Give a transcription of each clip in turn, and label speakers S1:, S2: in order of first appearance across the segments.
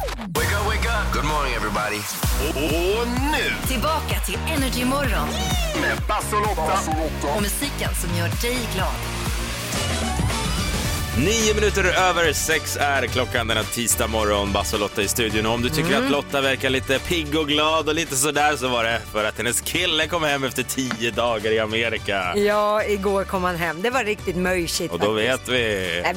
S1: Wake up, wake up. Good morning everybody. Och, och nu
S2: Tillbaka till Energy Morgon
S1: med Basse och Lotta.
S2: och musiken som gör dig glad.
S3: Nio minuter över sex är klockan denna tisdag morgon. Basse och Lotta i studion. Och om du tycker
S4: Mm.
S3: att Lotta verkar lite pigg och glad och lite sådär så var det för att hennes kille kom hem efter tio dagar i Amerika.
S4: Ja, igår kom han hem. Det var riktigt möjsigt.
S3: Och då
S4: faktiskt.
S3: vet vi.
S4: Nej,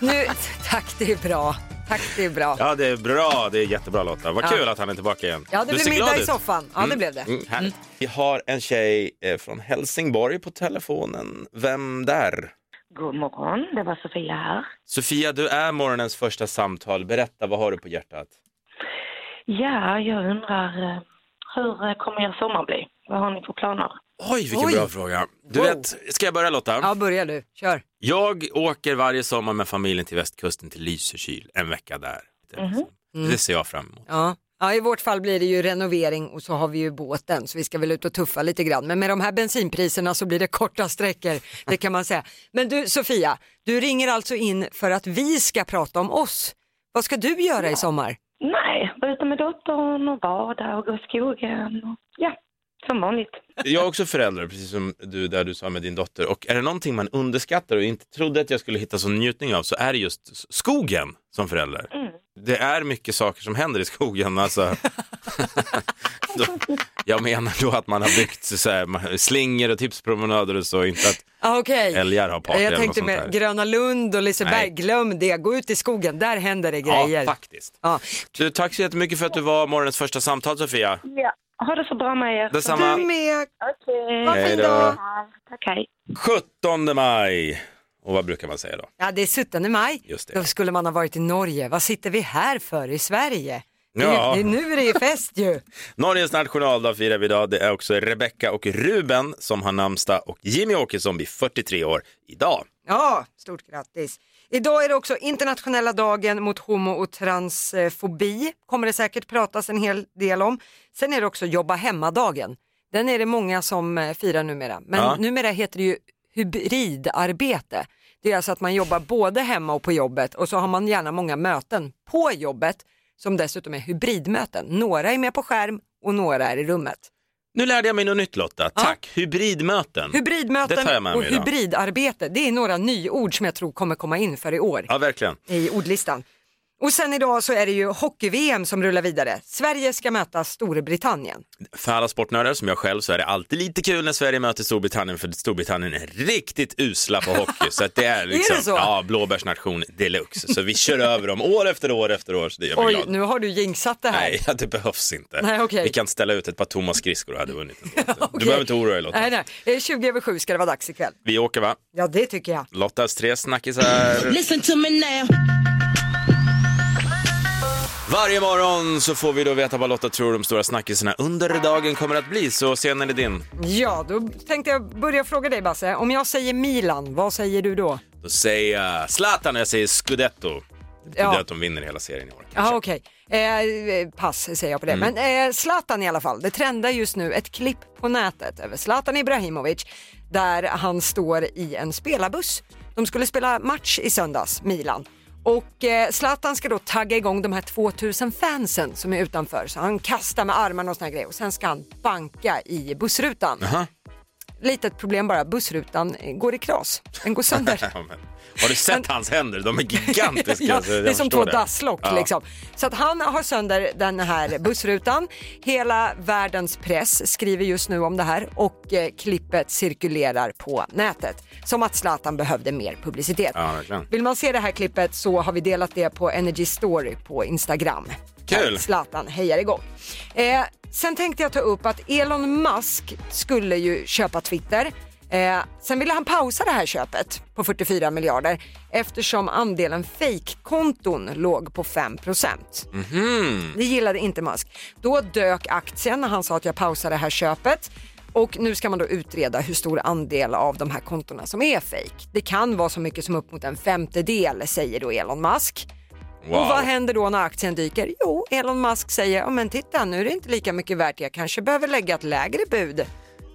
S4: men. Nu, tack, det är bra. Tack, det är bra. Ja,
S3: Ja, det är bra. Det är jättebra Lotta. Vad
S4: Ja.
S3: kul att han är tillbaka igen.
S4: det
S3: Du
S4: blev
S3: ser glad
S4: middag i
S3: ut.
S4: soffan. Ja, det blev det.
S3: Mm, härligt. Vi har en tjej eh, från Helsingborg på telefonen. Vem där?
S5: God morgon, det var Sofia här.
S3: Sofia, du är morgonens första samtal. Berätta, vad har du på hjärtat?
S5: Ja, jag undrar eh, hur eh, kommer er sommar bli? Vad har ni för planer?
S3: Oj, vilken
S4: Oj.
S3: bra fråga. Du
S4: Wow.
S3: vet, ska jag börja Lotta?
S4: Ja, börja du. Kör.
S3: Jag åker varje sommar med familjen till västkusten till Lysekil, en vecka där.
S4: Mhm.
S3: Det ser jag fram emot.
S4: Ja. ja, i vårt fall blir det ju renovering och så har vi ju båten så vi ska väl ut och tuffa lite grann. Men med de här bensinpriserna så blir det korta sträckor, det kan man säga. Men du Sofia, du ringer alltså in för att vi ska prata om oss. Vad ska du göra i sommar?
S5: Nej, vara ute med dottern och bada och gå i skogen. Och, ja, som vanligt.
S3: Jag är också förälder, precis som du där du sa med din dotter. Och är det någonting man underskattar och inte trodde att jag skulle hitta sån njutning av så är det just s- skogen som förälder.
S4: Mm.
S3: Det är mycket saker som händer i skogen. Alltså. då, jag menar då att man har byggt så här, man- slingor och tipspromenader och så, inte att
S4: Ah, Okej,
S3: älgar har party
S4: jag
S3: eller något
S4: tänkte
S3: sånt
S4: med
S3: där.
S4: Gröna Lund och Liseberg,
S3: Nej.
S4: glöm det, gå ut i skogen, där händer det grejer.
S3: Ja, faktiskt.
S4: Ja.
S3: Du, tack så jättemycket för att du var morgonens första samtal Sofia.
S5: Ja. Ha det så bra med er.
S3: Detsamma.
S4: Du med.
S5: Okej.
S3: en Hej då. dag.
S5: Tack, hej.
S3: 17 maj. Och vad brukar man säga då?
S4: Ja, det är 17 maj.
S3: Just det.
S4: Då skulle man ha varit i Norge. Vad sitter vi här för i Sverige? Det är,
S3: Ja.
S4: det är nu det är fest ju.
S3: Norges nationaldag firar vi idag. Det är också Rebecca och Ruben som har namnsdag och Jimmy Åkesson blir 43 år idag.
S4: Ja, stort grattis. Idag är det också internationella dagen mot homo och transfobi. Kommer det säkert pratas en hel del om. Sen är det också jobba hemma-dagen. Den är det många som eh, firar numera. Men
S3: Ja.
S4: numera heter det ju hybridarbete. Det är alltså att man jobbar både hemma och på jobbet och så har man gärna många möten på jobbet som dessutom är hybridmöten. Några är med på skärm och några är i rummet.
S3: Nu lärde jag mig något nytt Lotta. Tack! Hybridmöten. Det tar jag
S4: Hybridmöten
S3: med mig
S4: och
S3: idag.
S4: hybridarbete, det är några nyord som jag tror kommer komma in för i år
S3: Ja, verkligen.
S4: i ordlistan. Och sen idag så är det ju hockey-VM som rullar vidare. Sverige ska möta Storbritannien.
S3: För alla sportnördar som jag själv så är det alltid lite kul när Sverige möter Storbritannien för Storbritannien är riktigt usla på hockey. så att det är liksom
S4: det så?
S3: Ja, blåbärsnation deluxe. Så vi kör över dem år efter år efter år. Så det gör mig
S4: Oj,
S3: glad.
S4: nu har du jinxat det här.
S3: Nej, det behövs inte.
S4: Nej, okej.
S3: Vi kan ställa ut ett par tomma skridskor och hade vunnit ändå. Du
S4: Okej.
S3: behöver inte oroa dig Lotta.
S4: Nej, nej. Eh, 20 över 7 ska det vara dags ikväll.
S3: Vi åker va?
S4: Ja, det tycker jag.
S3: Lottas tre snackisar.
S6: Listen to me now.
S3: Varje morgon så får vi då veta vad Lotta tror de stora snackisarna under dagen kommer att bli. Så scenen är din.
S4: Ja, då tänkte jag börja fråga dig Basse. Om jag säger Milan, vad säger du då?
S3: Då säger jag Zlatan och jag säger Scudetto. Det betyder
S4: Ja.
S3: att de vinner hela serien i år.
S4: Ja, okej. Eh, pass säger jag på det. Men eh, Zlatan i alla fall. Det trendar just nu ett klipp på nätet över Zlatan Ibrahimovic där han står i en spelarbuss. De skulle spela match i söndags, Milan. Och eh, Zlatan ska då tagga igång de här 2000 fansen som är utanför. Så han kastar med armarna och såna här grejer och sen ska han banka i bussrutan. Litet problem bara, bussrutan eh, går i kras. Den går sönder.
S3: Ja, men, har du sett hans händer? De är gigantiska.
S4: Ja,
S3: så jag
S4: det är som två
S3: förstår
S4: dasslock
S3: Ja.
S4: liksom. Så att han har sönder den här bussrutan. Hela världens press skriver just nu om det här och eh, klippet cirkulerar på nätet. Som att Zlatan behövde mer publicitet.
S3: Ja, verkligen.
S4: Vill man se det här klippet så har vi delat det på Energy Story på Instagram.
S3: Kul.
S4: Där Zlatan hejar igång. Eh, sen tänkte jag ta upp att Elon Musk skulle ju köpa Twitter. Eh, sen ville han pausa det här köpet på 44 miljarder eftersom andelen fejkkonton låg på 5 Det gillade inte Musk. Då dök aktien när han sa att jag pausar det här köpet. Och nu ska man då utreda hur stor andel av de här kontona som är fejk. Det kan vara så mycket som upp mot en femtedel säger då Elon Musk.
S3: Wow.
S4: Och vad händer då när aktien dyker? Jo, Elon Musk säger, ja men titta nu är det inte lika mycket värt, jag kanske behöver lägga ett lägre bud.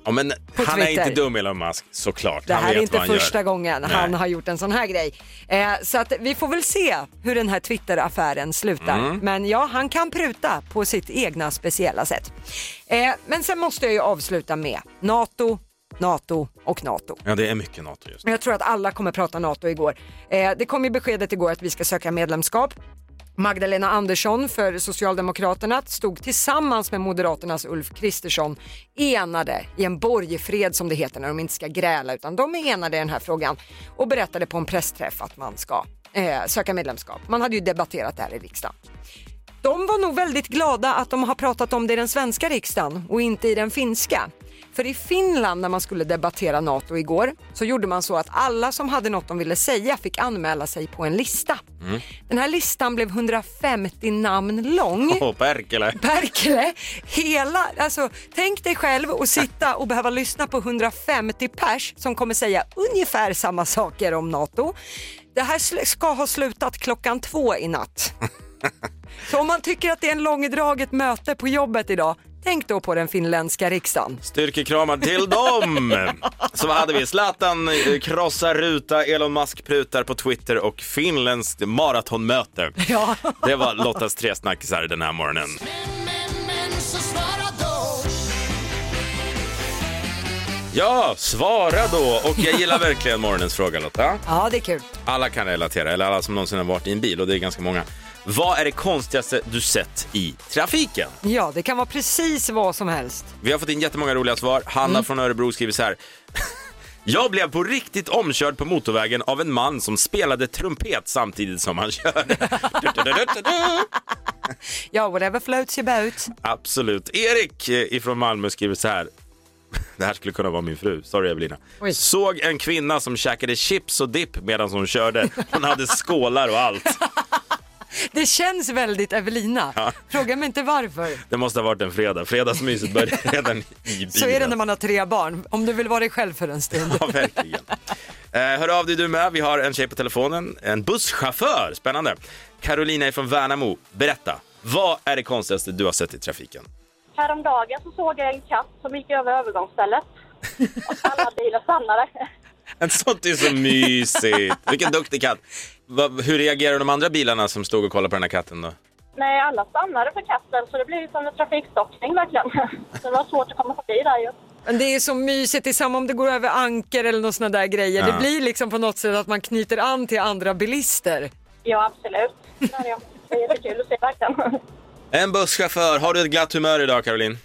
S3: Ja, men han är
S4: Twitter.
S3: inte dum Elon Musk, såklart.
S4: Det
S3: han
S4: här
S3: vet
S4: är inte
S3: vad han
S4: första
S3: gör.
S4: gången
S3: Nej.
S4: han har gjort en sån här grej. Eh, så att vi får väl se hur den här Twitter-affären slutar.
S3: Mm.
S4: Men ja, han kan pruta på sitt egna speciella sätt. Eh, men sen måste jag ju avsluta med NATO, NATO och NATO.
S3: Ja, det är mycket NATO just nu.
S4: Men Jag tror att alla kommer prata NATO igår. Eh, det kom ju beskedet igår att vi ska söka medlemskap. Magdalena Andersson för Socialdemokraterna stod tillsammans med Moderaternas Ulf Kristersson enade i en borgfred som det heter när de inte ska gräla utan de är enade i den här frågan och berättade på en pressträff att man ska eh, söka medlemskap. Man hade ju debatterat det här i riksdagen. De var nog väldigt glada att de har pratat om det i den svenska riksdagen och inte i den finska. För i Finland när man skulle debattera NATO igår så gjorde man så att alla som hade något de ville säga fick anmäla sig på en lista. Den här listan blev 150 namn lång.
S3: Åh, Perkele!
S4: Perkele, hela, alltså tänk dig själv och sitta och behöva lyssna på 150 pers som kommer säga ungefär samma saker om NATO. Det här sl- ska ha slutat klockan två i natt. Så om man tycker att det är en långdraget möte på jobbet idag, tänk då på den finländska riksdagen.
S3: Styrkekramar till dem! Så vad hade vi? Zlatan eh, krossar ruta, Elon Musk prutar på Twitter och finländskt maratonmöte.
S4: Ja.
S3: Det var Lottas tre snackisar den här morgonen. Ja, svara då! Och jag gillar verkligen morgonens fråga Lotta.
S4: Ja, det är kul.
S3: Alla kan relatera, eller alla som någonsin har varit i en bil och det är ganska många. Vad är det konstigaste du sett i trafiken?
S4: Ja, det kan vara precis vad som helst.
S3: Vi har fått in jättemånga roliga svar. Hanna
S4: Mm.
S3: från Örebro skriver så här. Jag blev på riktigt omkörd på motorvägen av en man som spelade trumpet samtidigt som han körde. Du-du-du-du-du-du.
S4: Ja, whatever floats your boat.
S3: Absolut. Erik eh, ifrån Malmö skriver så här. Det här skulle kunna vara min fru. Sorry Evelina.
S4: Oj.
S3: Såg en kvinna som käkade chips och dipp medan hon körde. Hon hade skålar och allt.
S4: Det känns väldigt Evelina. Fråga mig inte varför.
S3: Det måste ha varit en fredag. Fredagsmyset började redan i bilen.
S4: Så är det när man har tre barn, om du vill vara dig själv för en stund.
S3: Ja, verkligen. Eh, hör av dig du med. Vi har en tjej på telefonen. En busschaufför. Spännande. Carolina är från Värnamo. Berätta. Vad är det konstigaste du har sett i trafiken?
S6: Häromdagen så såg jag en katt som gick över övergångsstället. Och alla bilar stannade.
S3: En sånt är så mysigt. Vilken duktig katt. Va, hur reagerar de andra bilarna som stod och kollade på den här katten då?
S6: Nej, alla stannade för katten så det blev ju som en trafikstockning verkligen. Så det var svårt att komma förbi där ju.
S4: Men det är så mysigt, det är samma om det går över anker eller något sådana där grejer.
S3: Ja.
S4: Det blir liksom på något sätt att man knyter an till andra bilister.
S6: Ja, absolut. Det är det är kul att se verkligen.
S3: En busschaufför. Har du ett glatt humör idag Caroline?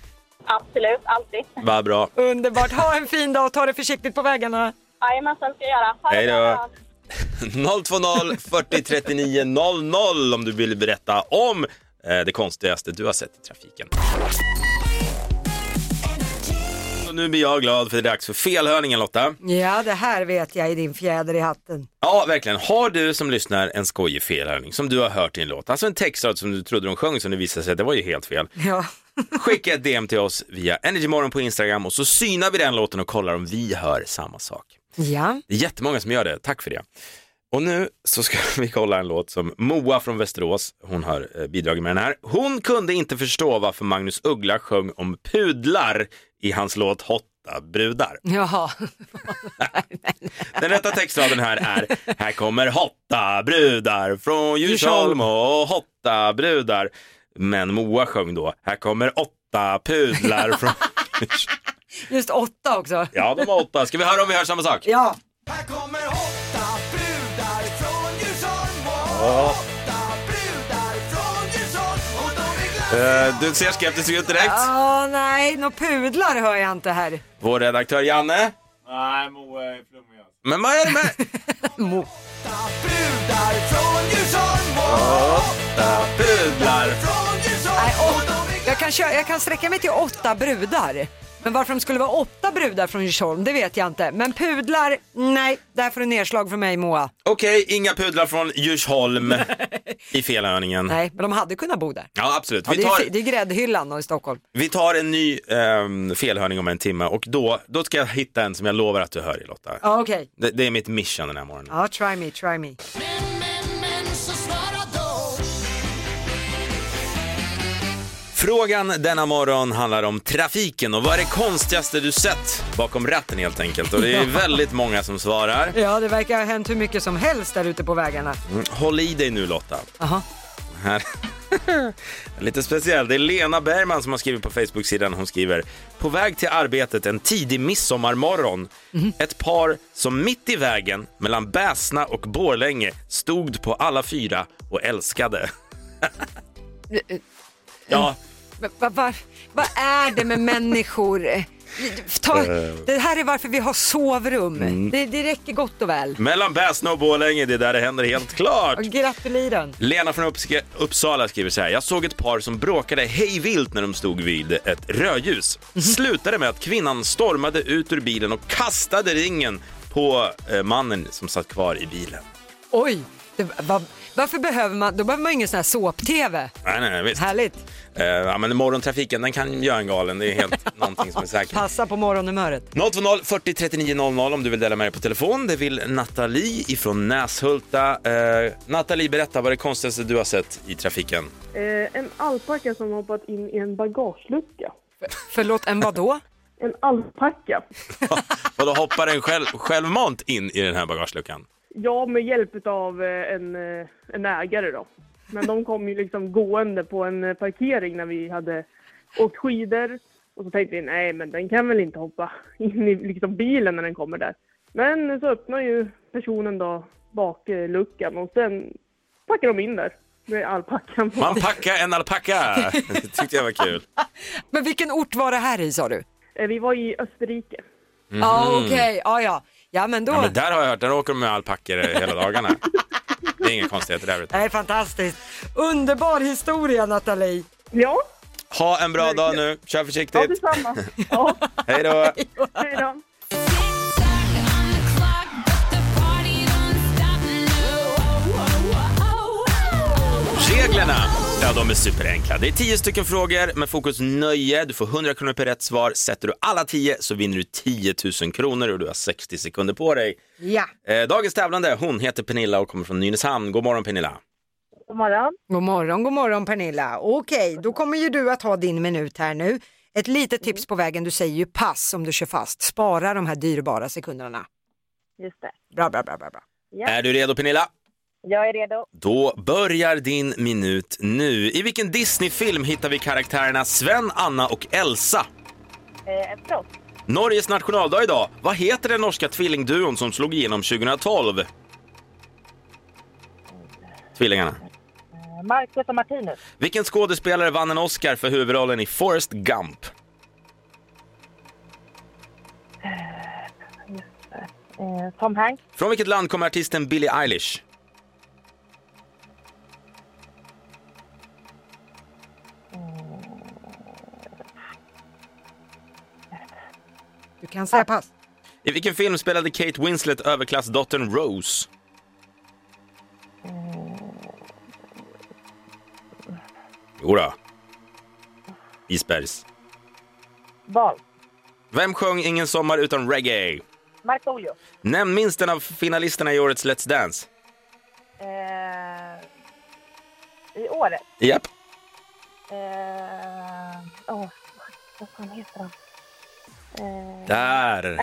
S6: Absolut, alltid.
S3: Vad bra.
S4: Underbart, ha en fin dag och ta det försiktigt på vägarna.
S6: Jajamensan, ska jag göra. Ha det
S3: Hej då.
S6: bra.
S3: 020 40 39 00 om du vill berätta om eh, det konstigaste du har sett i trafiken. Och nu blir jag glad för det är dags för felhörningen Lotta.
S4: Ja, det här vet jag i din fjäder i hatten.
S3: Ja, verkligen. Har du som lyssnar en skojig felhörning som du har hört i en låt, alltså en textrad som du trodde de sjöng som det visade sig, det var ju helt fel.
S4: Ja.
S3: Skicka ett DM till oss via Energymorgon på Instagram och så synar vi den låten och kollar om vi hör samma sak.
S4: ja.
S3: Det är jättemånga som gör det, tack för det. Och nu så ska vi kolla en låt som Moa från Västerås, hon har eh, bidragit med den här. Hon kunde inte förstå varför Magnus Uggla sjöng om pudlar i hans låt Hotta brudar.
S4: Jaha.
S3: Den rätta textraden här är Här kommer hotta brudar från Djursholm och hotta brudar. Men Moa sjöng då Här kommer åtta pudlar från
S4: Just åtta också.
S3: Ja, de var åtta. Ska vi höra om vi hör samma sak?
S4: Ja.
S7: Här kommer åtta brudar från Djursholm
S3: Ja.
S7: och åtta brudar från Djursholm och de är glada
S3: Eh, Du ser skeptisk ut direkt.
S4: Åh Ah, nej, några pudlar hör jag inte här.
S3: Vår redaktör Janne.
S8: Nej, Moa är flummig alltså.
S3: Men vad är det med
S7: brudar från Djursholm och
S3: åtta pudlar?
S7: från
S4: Nej,
S7: Djursholm och
S4: åtta.
S7: de är glada
S4: Jag kan, köra, jag kan sträcka mig till åtta brudar. Men varför de skulle vara åtta brudar från Djursholm, det vet jag inte. Men pudlar, nej, där får du nedslag för mig Moa.
S3: Okej, inga pudlar från Djursholm i felhörningen.
S4: Nej, men de hade kunnat bo där.
S3: Ja, absolut.
S4: Ja,
S3: Vi
S4: det,
S3: tar,
S4: är, fi- det är gräddhyllan och i Stockholm.
S3: vi tar en ny ehm, felhörning om en timme och då, då ska jag hitta en som jag lovar att du hör i Lotta.
S4: Ja, okej.
S3: Det, det är mitt mission den här morgonen.
S4: Ja, try me, try me.
S3: Frågan denna morgon handlar om trafiken och vad är det konstigaste du sett bakom ratten helt enkelt? Och det är väldigt många som svarar.
S4: Ja, det verkar ha hänt hur mycket som helst där ute på vägarna.
S3: Mm, Håll i dig nu Lotta.
S4: Jaha.
S3: Här. Lite speciell. Det är Lena Bergman som har skrivit på Facebook-sidan. Hon skriver på väg till arbetet en tidig midsommarmorgon. Ett par som mitt i vägen mellan Bäsna och Borlänge stod på alla fyra och älskade. ja,
S4: Men Vad vad- vad är det med människor? Ta,
S3: Eh.
S4: det här är varför vi har sovrum.
S3: Mm.
S4: Det, det räcker gott och väl.
S3: mellan Bäsna och Borlänge, det är där det händer helt klart.
S4: Och Gratuliren.
S3: Lena från Upps- Uppsala skriver så här. Jag såg ett par som bråkade hejvilt när de stod vid ett rödljus. Slutade med att kvinnan stormade ut ur bilen och kastade ringen på eh, mannen som satt kvar i bilen.
S4: Oj, det, vad- varför behöver man, då behöver man ingen sån här såp-tv.
S3: Nej, nej, nej, visst.
S4: Härligt.
S3: Eh, ja, men morgontrafiken, den kan göra en galen. Det är helt någonting som är säkert.
S4: Passa på morgonhumöret.
S3: 020 40 39 00 om du vill dela med dig på telefon. Det vill Nathalie ifrån Näshulta. Eh, Nathalie, berätta vad är det konstigaste du har sett i trafiken.
S9: Eh, en alpacka som hoppat in i en bagagelucka.
S4: Förlåt, en vadå?
S9: En alpacka.
S3: Och då hoppar den själv, självmant in i den här bagageluckan.
S9: Ja, med hjälp av en, eh, en ägare då. Men de kom ju liksom gående på en eh, parkering när vi hade åkt skidor. Och så tänkte vi, nej men den kan väl inte hoppa in i liksom bilen när den kommer där. Men så öppnar ju personen då bakluckan och sen packar de in där med alpackan. på.
S3: Man packar en alpacka! Det tyckte jag var kul.
S4: Men vilken ort var det här i sa du?
S9: Eh, Vi var i Österrike.
S4: Ja, okej, ja, ja. Ja, men då.
S3: Mhm. Ja, men där har jag hört, där åker de med alpackor hela dagarna. Det är inga konstigheter där ute.
S4: Det är fantastiskt. Underbar historia, Nathalie.
S9: Ja,
S3: Ha en bra dag nu, kör
S9: ja
S3: försiktigt.
S9: detsamma. Ja,
S3: Hej då!
S9: hej då.
S3: Reglerna, ja de är superenkla. Det är 10 stycken frågor med fokus nöje. Du får 100 kronor per rätt svar. Sätter du alla 10 så vinner du 10 000 kronor och du har 60 sekunder på dig.
S4: Ja.
S3: Eh, Dagens tävlande, hon heter Pernilla och kommer från Nynäshamn. God morgon Pernilla!
S9: God morgon.
S4: God morgon, god morgon Pernilla. Okej, då kommer ju du att ha din minut här nu. Ett litet tips på vägen, du säger ju pass om du kör fast. Spara de här dyrbara sekunderna.
S9: Just det.
S4: Bra, bra, bra, bra. bra.
S3: Är du redo Pernilla?
S9: Jag är redo.
S3: Då börjar din minut nu. I vilken Disney-film hittar vi karaktärerna Sven, Anna och Elsa?
S9: Eh, en proffs.
S3: Norges nationaldag idag. Vad heter den norska tvillingduon som slog igenom 2012? Tvillingarna.
S9: Marcus och Martinus.
S3: Vilken skådespelare vann en Oscar för huvudrollen i Forrest Gump?
S9: Eh, Tom Hanks.
S3: Från vilket land kommer artisten Billie Eilish?
S4: Du kan säga pass.
S3: I vilken film spelade Kate Winslet överklassdottern Rose? Jodå. Isbergs.
S9: Val.
S3: Vem sjöng Ingen sommar utan reggae?
S9: Markoolio.
S3: Nämn minst en av finalisterna i årets Let's Dance.
S9: Eh, I året.
S3: Japp.
S9: Eh, åh, vad fan heter han? Eh,
S3: Där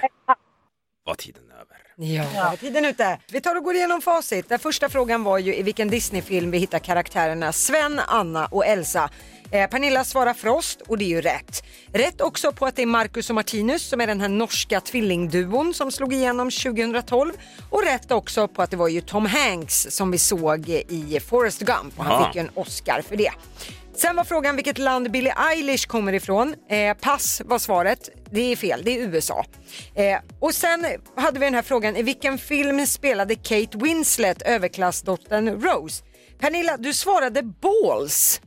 S3: var tiden över.
S4: Ja, ja. tiden är ute. Vi tar och går igenom facit. Den första frågan var ju i vilken Disney-film vi hittar karaktärerna Sven, Anna och Elsa. Eh, Pernilla svarar Frost och det är ju rätt. Rätt också på att det är Marcus och Martinus som är den här norska tvillingduon som slog igenom 2012 och rätt också på att det var ju Tom Hanks som vi såg i Forrest Gump och han
S3: Aha.
S4: fick ju en Oscar för det. Sen var frågan vilket land Billie Eilish kommer ifrån. Eh, pass var svaret. Det är fel, det är USA. Eh, och sen hade vi den här frågan, i vilken film spelade Kate Winslet överklassdottern Rose? Pernilla, du svarade Balls.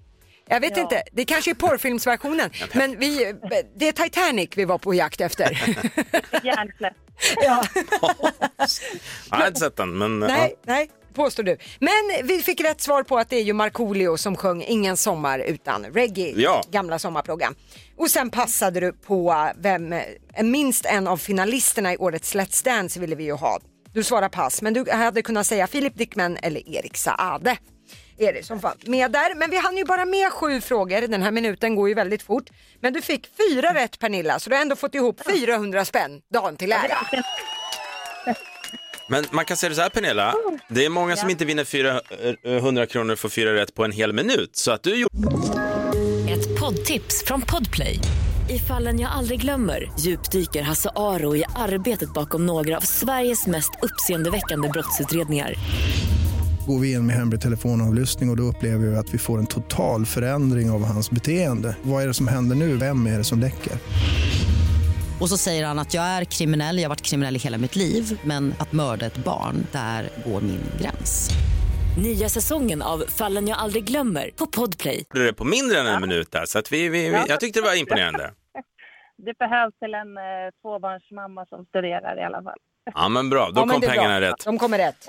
S4: Jag vet inte, det kanske är porrfilmsversionen, men vi, det är Titanic vi var på jakt efter.
S9: Järnsläpp.
S4: ja.
S3: Jag har inte sett den, men...
S4: Nej, nej, påstår du. Men vi fick rätt svar på att det är ju Markoolio som sjöng Ingen sommar utan reggae,
S3: Ja.
S4: gamla sommarplågan. Och sen passade du på vem, eh, minst en av finalisterna i årets Let's Dance ville vi ju ha. Du svarar pass, men du hade kunnat säga Filip Dickman eller Erik Saade. är det som fan. Med där. Men vi hann ju bara med sju frågor, den här minuten går ju väldigt fort. Men du fick fyra rätt Pernilla, så du har ändå fått ihop 400 spänn dagen till ära.
S3: Men man kan säga det så här Pernilla, det är många som inte vinner 400 kronor för fyra rätt på en hel minut. Så att du gjorde
S2: Ett poddtips från Podplay. I fallen jag aldrig glömmer djupdyker Hasse Aro i arbetet bakom några av Sveriges mest uppseendeväckande brottsutredningar.
S10: Går vi in med hemlig telefonavlyssning och, och då upplever vi att vi får en total förändring av hans beteende. Vad är det som händer nu? Vem är det som läcker?
S11: Och så säger han att jag är kriminell, jag har varit kriminell i hela mitt liv men att mörda ett barn, där går min gräns.
S2: Nya säsongen av Fallen jag aldrig glömmer på Podplay.
S3: det på mindre än en minut där. Så att vi, vi, vi, jag tyckte det var imponerande.
S6: Det behövs till en eh, tvåbarnsmamma som studerar i alla fall.
S3: Ja men bra, då
S4: Ja, men
S3: kom
S4: det är bra.
S3: pengarna rätt.
S4: De kommer rätt.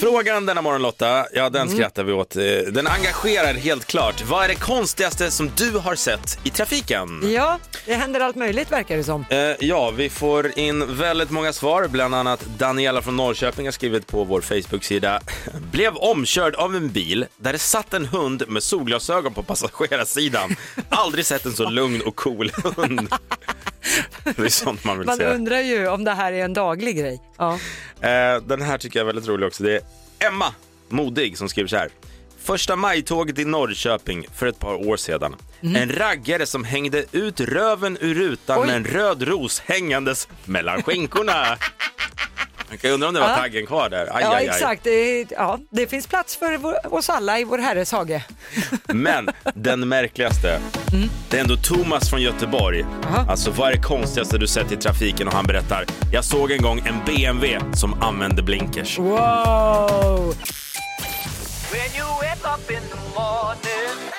S3: Frågan denna morgon Lotta, ja den
S4: Mm.
S3: skrattar vi åt. Eh, Den engagerar helt klart. Vad är det konstigaste som du har sett i trafiken?
S4: Ja, det händer allt möjligt verkar det som.
S3: Eh, ja, vi får in väldigt många svar. Bland annat Daniela från Norrköping har skrivit på vår Facebook-sida. Blev omkörd av en bil där det satt en hund med solglasögon på passagerarsidan. Aldrig sett en så lugn och cool hund. Det är sånt man vill
S4: Man
S3: se.
S4: undrar ju om det här är en daglig grej. Ja.
S3: Eh, den här tycker jag är väldigt rolig också. Det är Emma Modig som skriver så här. Första majtåget i Norrköping för ett par år sedan.
S4: Mhm.
S3: En raggare som hängde ut röven ur rutan med en röd ros hängandes mellan skinkorna. Man kan ju undra om det var
S4: Ja.
S3: taggen kvar där. Aj,
S4: Ja,
S3: aj, aj.
S4: exakt. Det, är- ja, det finns plats för vår, oss alla i vår herres hage.
S3: Men den märkligaste, det är ändå Thomas från Göteborg.
S4: Mm. Aha.
S3: Alltså vad är det konstigaste du sett i trafiken? Och han berättar, jag såg en gång en BMW som använde blinkers.
S4: Wow!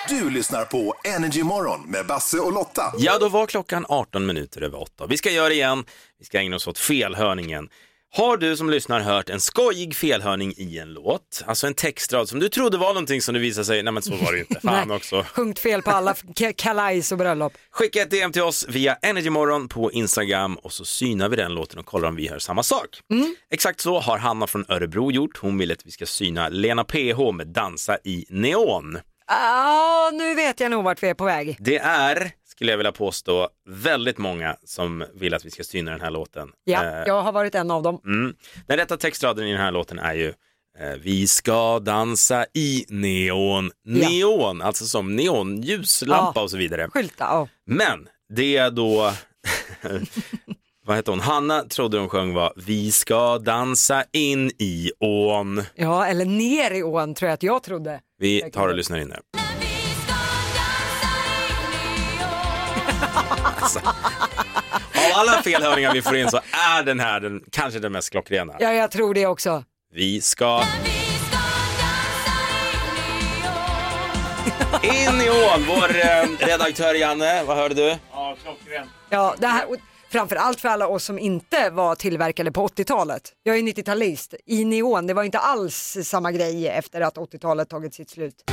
S7: Du lyssnar på Energy Morgon med Basse och Lotta.
S3: Ja, då var klockan 18 minuter över 8. Vi ska göra det igen. Vi ska ägna oss åt felhörningen. Har du som lyssnar hört en skojig felhörning i en låt? Alltså en textrad som du trodde var någonting som det visade sig, nej men så var det ju inte. Fan
S4: Nej.
S3: också.
S4: Sjungt fel på alla k- kalajs och bröllop.
S3: Skicka ett DM till oss via Energymorgon på Instagram och så synar vi den låten och kollar om vi hör samma sak.
S4: Mm.
S3: Exakt så har Hanna från Örebro gjort. Hon vill att vi ska syna Lena PH med Dansa i neon.
S4: Ah, nu vet jag nog vart vi är på väg.
S3: Det är, skulle jag vilja påstå, väldigt många som vill att vi ska syna den här låten.
S4: Ja,
S3: Eh,
S4: jag har varit en av dem.
S3: Mm. Den rätta textraden i den här låten är ju eh, Vi ska dansa i neon.
S4: Ja.
S3: Neon, alltså som neonljuslampa
S4: Ja.
S3: och så vidare.
S4: Skylta, ja.
S3: Men det är då, vad heter hon, Hanna trodde hon sjöng var Vi ska dansa in i ån.
S4: Ja, eller ner i ån tror jag att jag trodde.
S3: Vi tar och lyssnar in nu. Alltså, Av alla felhörningar vi får in så är den här den, kanske den mest klockrena.
S4: Ja, jag tror det också.
S3: Vi ska... In i ån! Vår eh, redaktör Janne, vad hörde du?
S8: Ja, klockrent.
S4: Ja, det här, och framförallt för alla oss som inte var tillverkade på 80-talet. Jag är 90-talist. I neon, det var inte alls samma grej efter att 80-talet tagit sitt slut.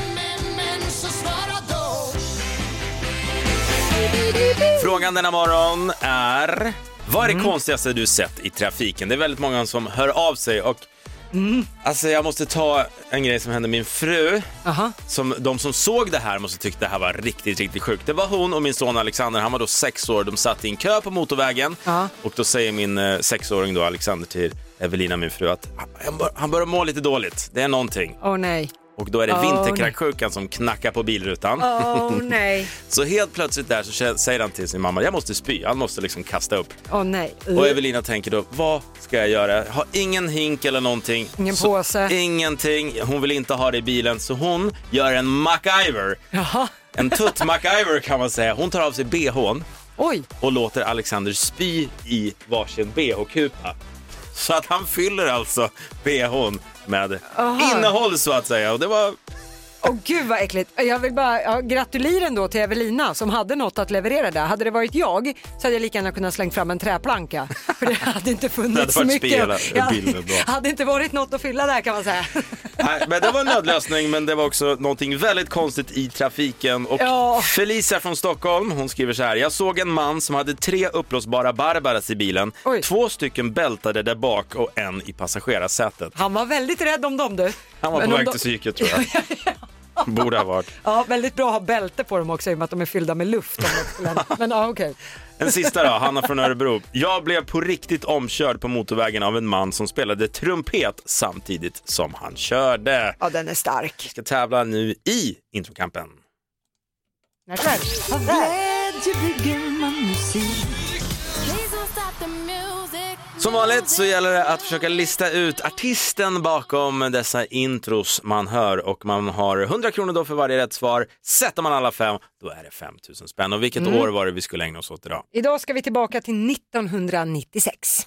S3: Frågan denna morgon är... Vad är det konstigaste du sett i trafiken? Det är väldigt många som hör av sig och... Alltså jag måste ta en grej som hände min fru.
S4: Aha.
S3: Som, de som såg det här måste tyckt det här var riktigt, riktigt sjukt. Det var hon och min son Alexander, han var då sex år. De satt i en kö på motorvägen
S4: Ja.
S3: och då säger min eh, sexåring då, Alexander till Evelina, min fru, att han- han, bör, han börjar må lite dåligt. Det är någonting.
S4: Åh nej.
S3: Och då är det
S4: Åh,
S3: vinterkräksjukan som knackar på bilrutan.
S4: Åh nej.
S3: Så helt plötsligt där så kä- säger han till sin mamma, jag måste spy, han måste liksom kasta upp.
S4: Åh nej.
S3: Och Evelina tänker då, vad ska jag göra? Jag har ingen hink eller någonting.
S4: Ingen
S3: Så-
S4: påse.
S3: Ingenting. Hon vill inte ha det i bilen, så hon gör en MacGyver.
S4: Jaha.
S3: En tutt-MacGyver kan man säga. Hon tar av sig bhn
S4: Oj.
S3: och låter Alexander spy i varsin bh-kupa. Så att han fyller alltså bhn med innehåll så att säga. Och det var
S4: Åh gud vad äckligt. Jag vill bara ja, gratulera ändå till Evelina som hade något att leverera där. Hade det varit jag så hade jag lika gärna kunnat slänga fram en träplanka. För det hade inte
S3: Det
S4: funnits
S3: hade
S4: så
S3: varit
S4: mycket.
S3: spel,
S4: Jag
S3: bilder bra.
S4: hade inte varit något att fylla där kan man säga.
S3: Nej, men det var en nödlösning, men det var också någonting väldigt konstigt i trafiken. Och Felicia från Stockholm, hon skriver så här. Jag såg en man som hade tre uppblåsbara Barbaras i bilen. Två stycken bältade där bak och en i passagerarsätet.
S4: Han var väldigt rädd om dem du.
S3: Han var
S4: Men
S3: på
S4: om
S3: väg
S4: de-
S3: till psyket tror jag. Borde ha varit.
S4: Ja, väldigt bra att ha bälte på dem också i och med att de är fyllda med luft. om något skulle hända. Men ja, okej.
S3: En sista då, Hanna från Örebro. Jag blev på riktigt omkörd på motorvägen av en man som spelade trumpet samtidigt som han körde.
S4: Ja, den är stark. Vi
S3: ska tävla nu i introkampen.
S12: Av glädje bygger man musik.
S3: Som vanligt så gäller det att försöka lista ut artisten bakom dessa intros man hör och man har 100 kronor då för varje rätt svar. Sätter man alla fem, då är det 5 000 spänn. Och vilket
S4: Mm.
S3: år var det vi skulle ägna oss åt idag?
S4: Idag ska vi tillbaka till 1996.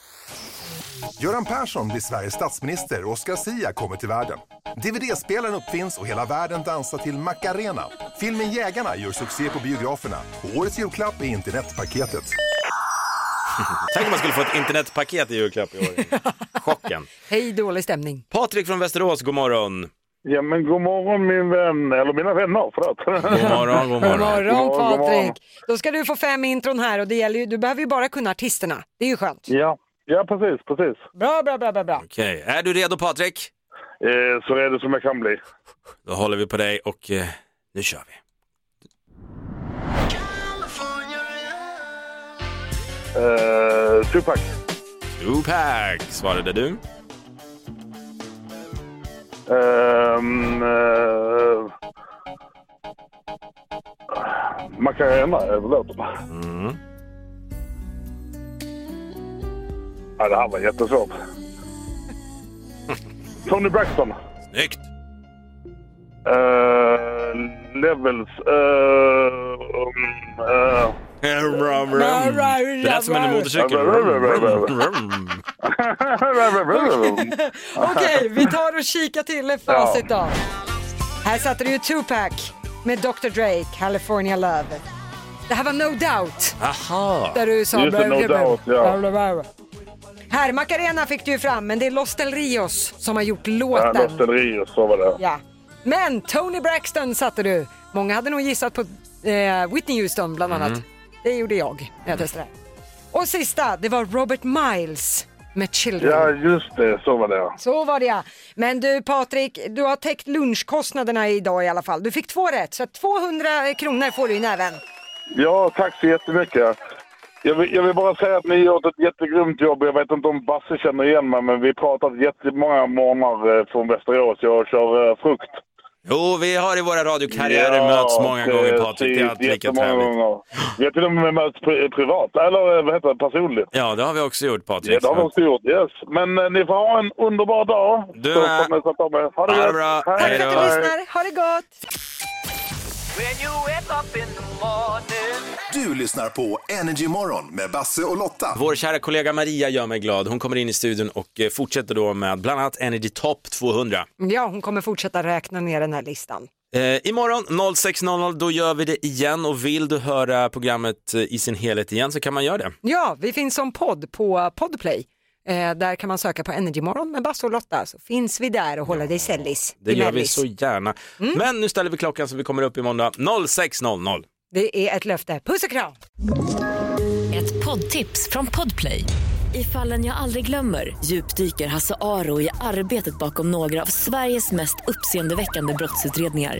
S13: Göran Persson blir Sveriges statsminister och Oscar Sia kommer till världen. DVD-spelaren uppfinns och hela världen dansar till Macarena. Filmen Jägarna gör succé på biograferna. Och årets julklapp är internetpaketet.
S3: Tänk om man skulle få ett internetpaket i julklapp i år. Chocken.
S4: Hej, dålig stämning.
S3: Patrik från Västerås, god morgon.
S14: Ja, men god morgon min vän, eller mina vänner, förlåt. God
S3: morgon, god morgon. God
S4: Morgon Patrik! Då ska du få fem intron här och det gäller ju, du behöver ju bara kunna artisterna. Det är ju skönt.
S14: Ja, ja precis, precis.
S4: Bra, bra, bra, bra, bra.
S3: Okej, är du redo Patrik?
S14: Eh, så redo som jag kan bli.
S3: Då håller vi på dig och eh, nu kör vi.
S14: Eh, Tupac.
S3: Tupac svarade du.
S14: Ehm, eh, Macarena är väl låten?
S3: Mm.
S14: Ja, det här var jättesvårt. Tony Braxton.
S3: Snyggt!
S14: Eh, levels. eh, um, eh.
S3: Det lät som en motorcykel.
S4: Okej, vi tar och kikar till facit då. Här satte du ju Tupac med Dr Dre, California Love. Det här var No Doubt.
S3: Aha.
S4: Där du sa...
S14: Just det, No Doubt, ja.
S4: Här, Macarena fick du ju fram, men det är Los Del Rios som har gjort
S14: Ja,
S4: låten.
S14: Los Del Rio, så var det.
S4: Ja. Men Tony Braxton satte du. Många hade nog gissat på eh, Whitney Houston bland annat.
S14: Mm.
S4: Det gjorde jag när jag testade. Och sista, det var Robert Miles med Children.
S14: Ja, just det, så var det.
S4: Så var det ja. Men du Patrik, du har täckt lunchkostnaderna idag i alla fall. Du fick två rätt, så att 200 kronor får du i näven.
S14: Ja, tack så jättemycket. Jag vill, jag vill bara säga att ni har gjort ett jättegrymt jobb. Jag vet inte om Basse känner igen mig, men vi pratat jättemånga morgnar eh, från Västerås. Jag kör eh, frukt.
S3: Jo, vi har i våra radiokarriärer möts många gånger Patrik. Det är alltid lika
S14: jättemånga
S3: trevligt.
S14: gånger. Vi har till och med möts pri- privat, eller eh, vad heter det, personligt.
S3: Ja, det har vi också gjort Patrik.
S14: Ja, det har vi också gjort, yes. Men eh, ni får ha en underbar dag.
S3: Du
S14: Så
S3: med.
S14: får ni sätta med. Ha
S3: Ha
S14: det
S3: det
S14: gött.
S3: bra.
S14: Hej.
S3: Tack för att du lyssnade.
S4: Ha det gott!
S13: Du lyssnar på Energy Morgon med Basse och Lotta.
S3: Vår kära kollega Maria gör mig glad. Hon kommer in i studion och eh, fortsätter då med bland annat Energy Top 200.
S4: Ja, hon kommer fortsätta räkna ner den här listan.
S3: Eh, imorgon 06.00 då gör vi det igen och vill du höra programmet eh, i sin helhet igen så kan man göra det.
S4: Ja, vi finns som podd på Podplay. Eh, där kan man söka på Energymorgon med Basse och Lotta så finns vi där och håller dig sällis.
S3: Det Mm.
S4: i
S3: gör vi
S4: mellis.
S3: så gärna. Men nu ställer vi klockan så vi kommer upp i måndag 06.00.
S4: Det är ett löfte. Puss och kram!
S2: Ett poddtips från Podplay. I fallen jag aldrig glömmer djupdyker Hasse Aro i arbetet bakom några av Sveriges mest uppseendeväckande brottsutredningar.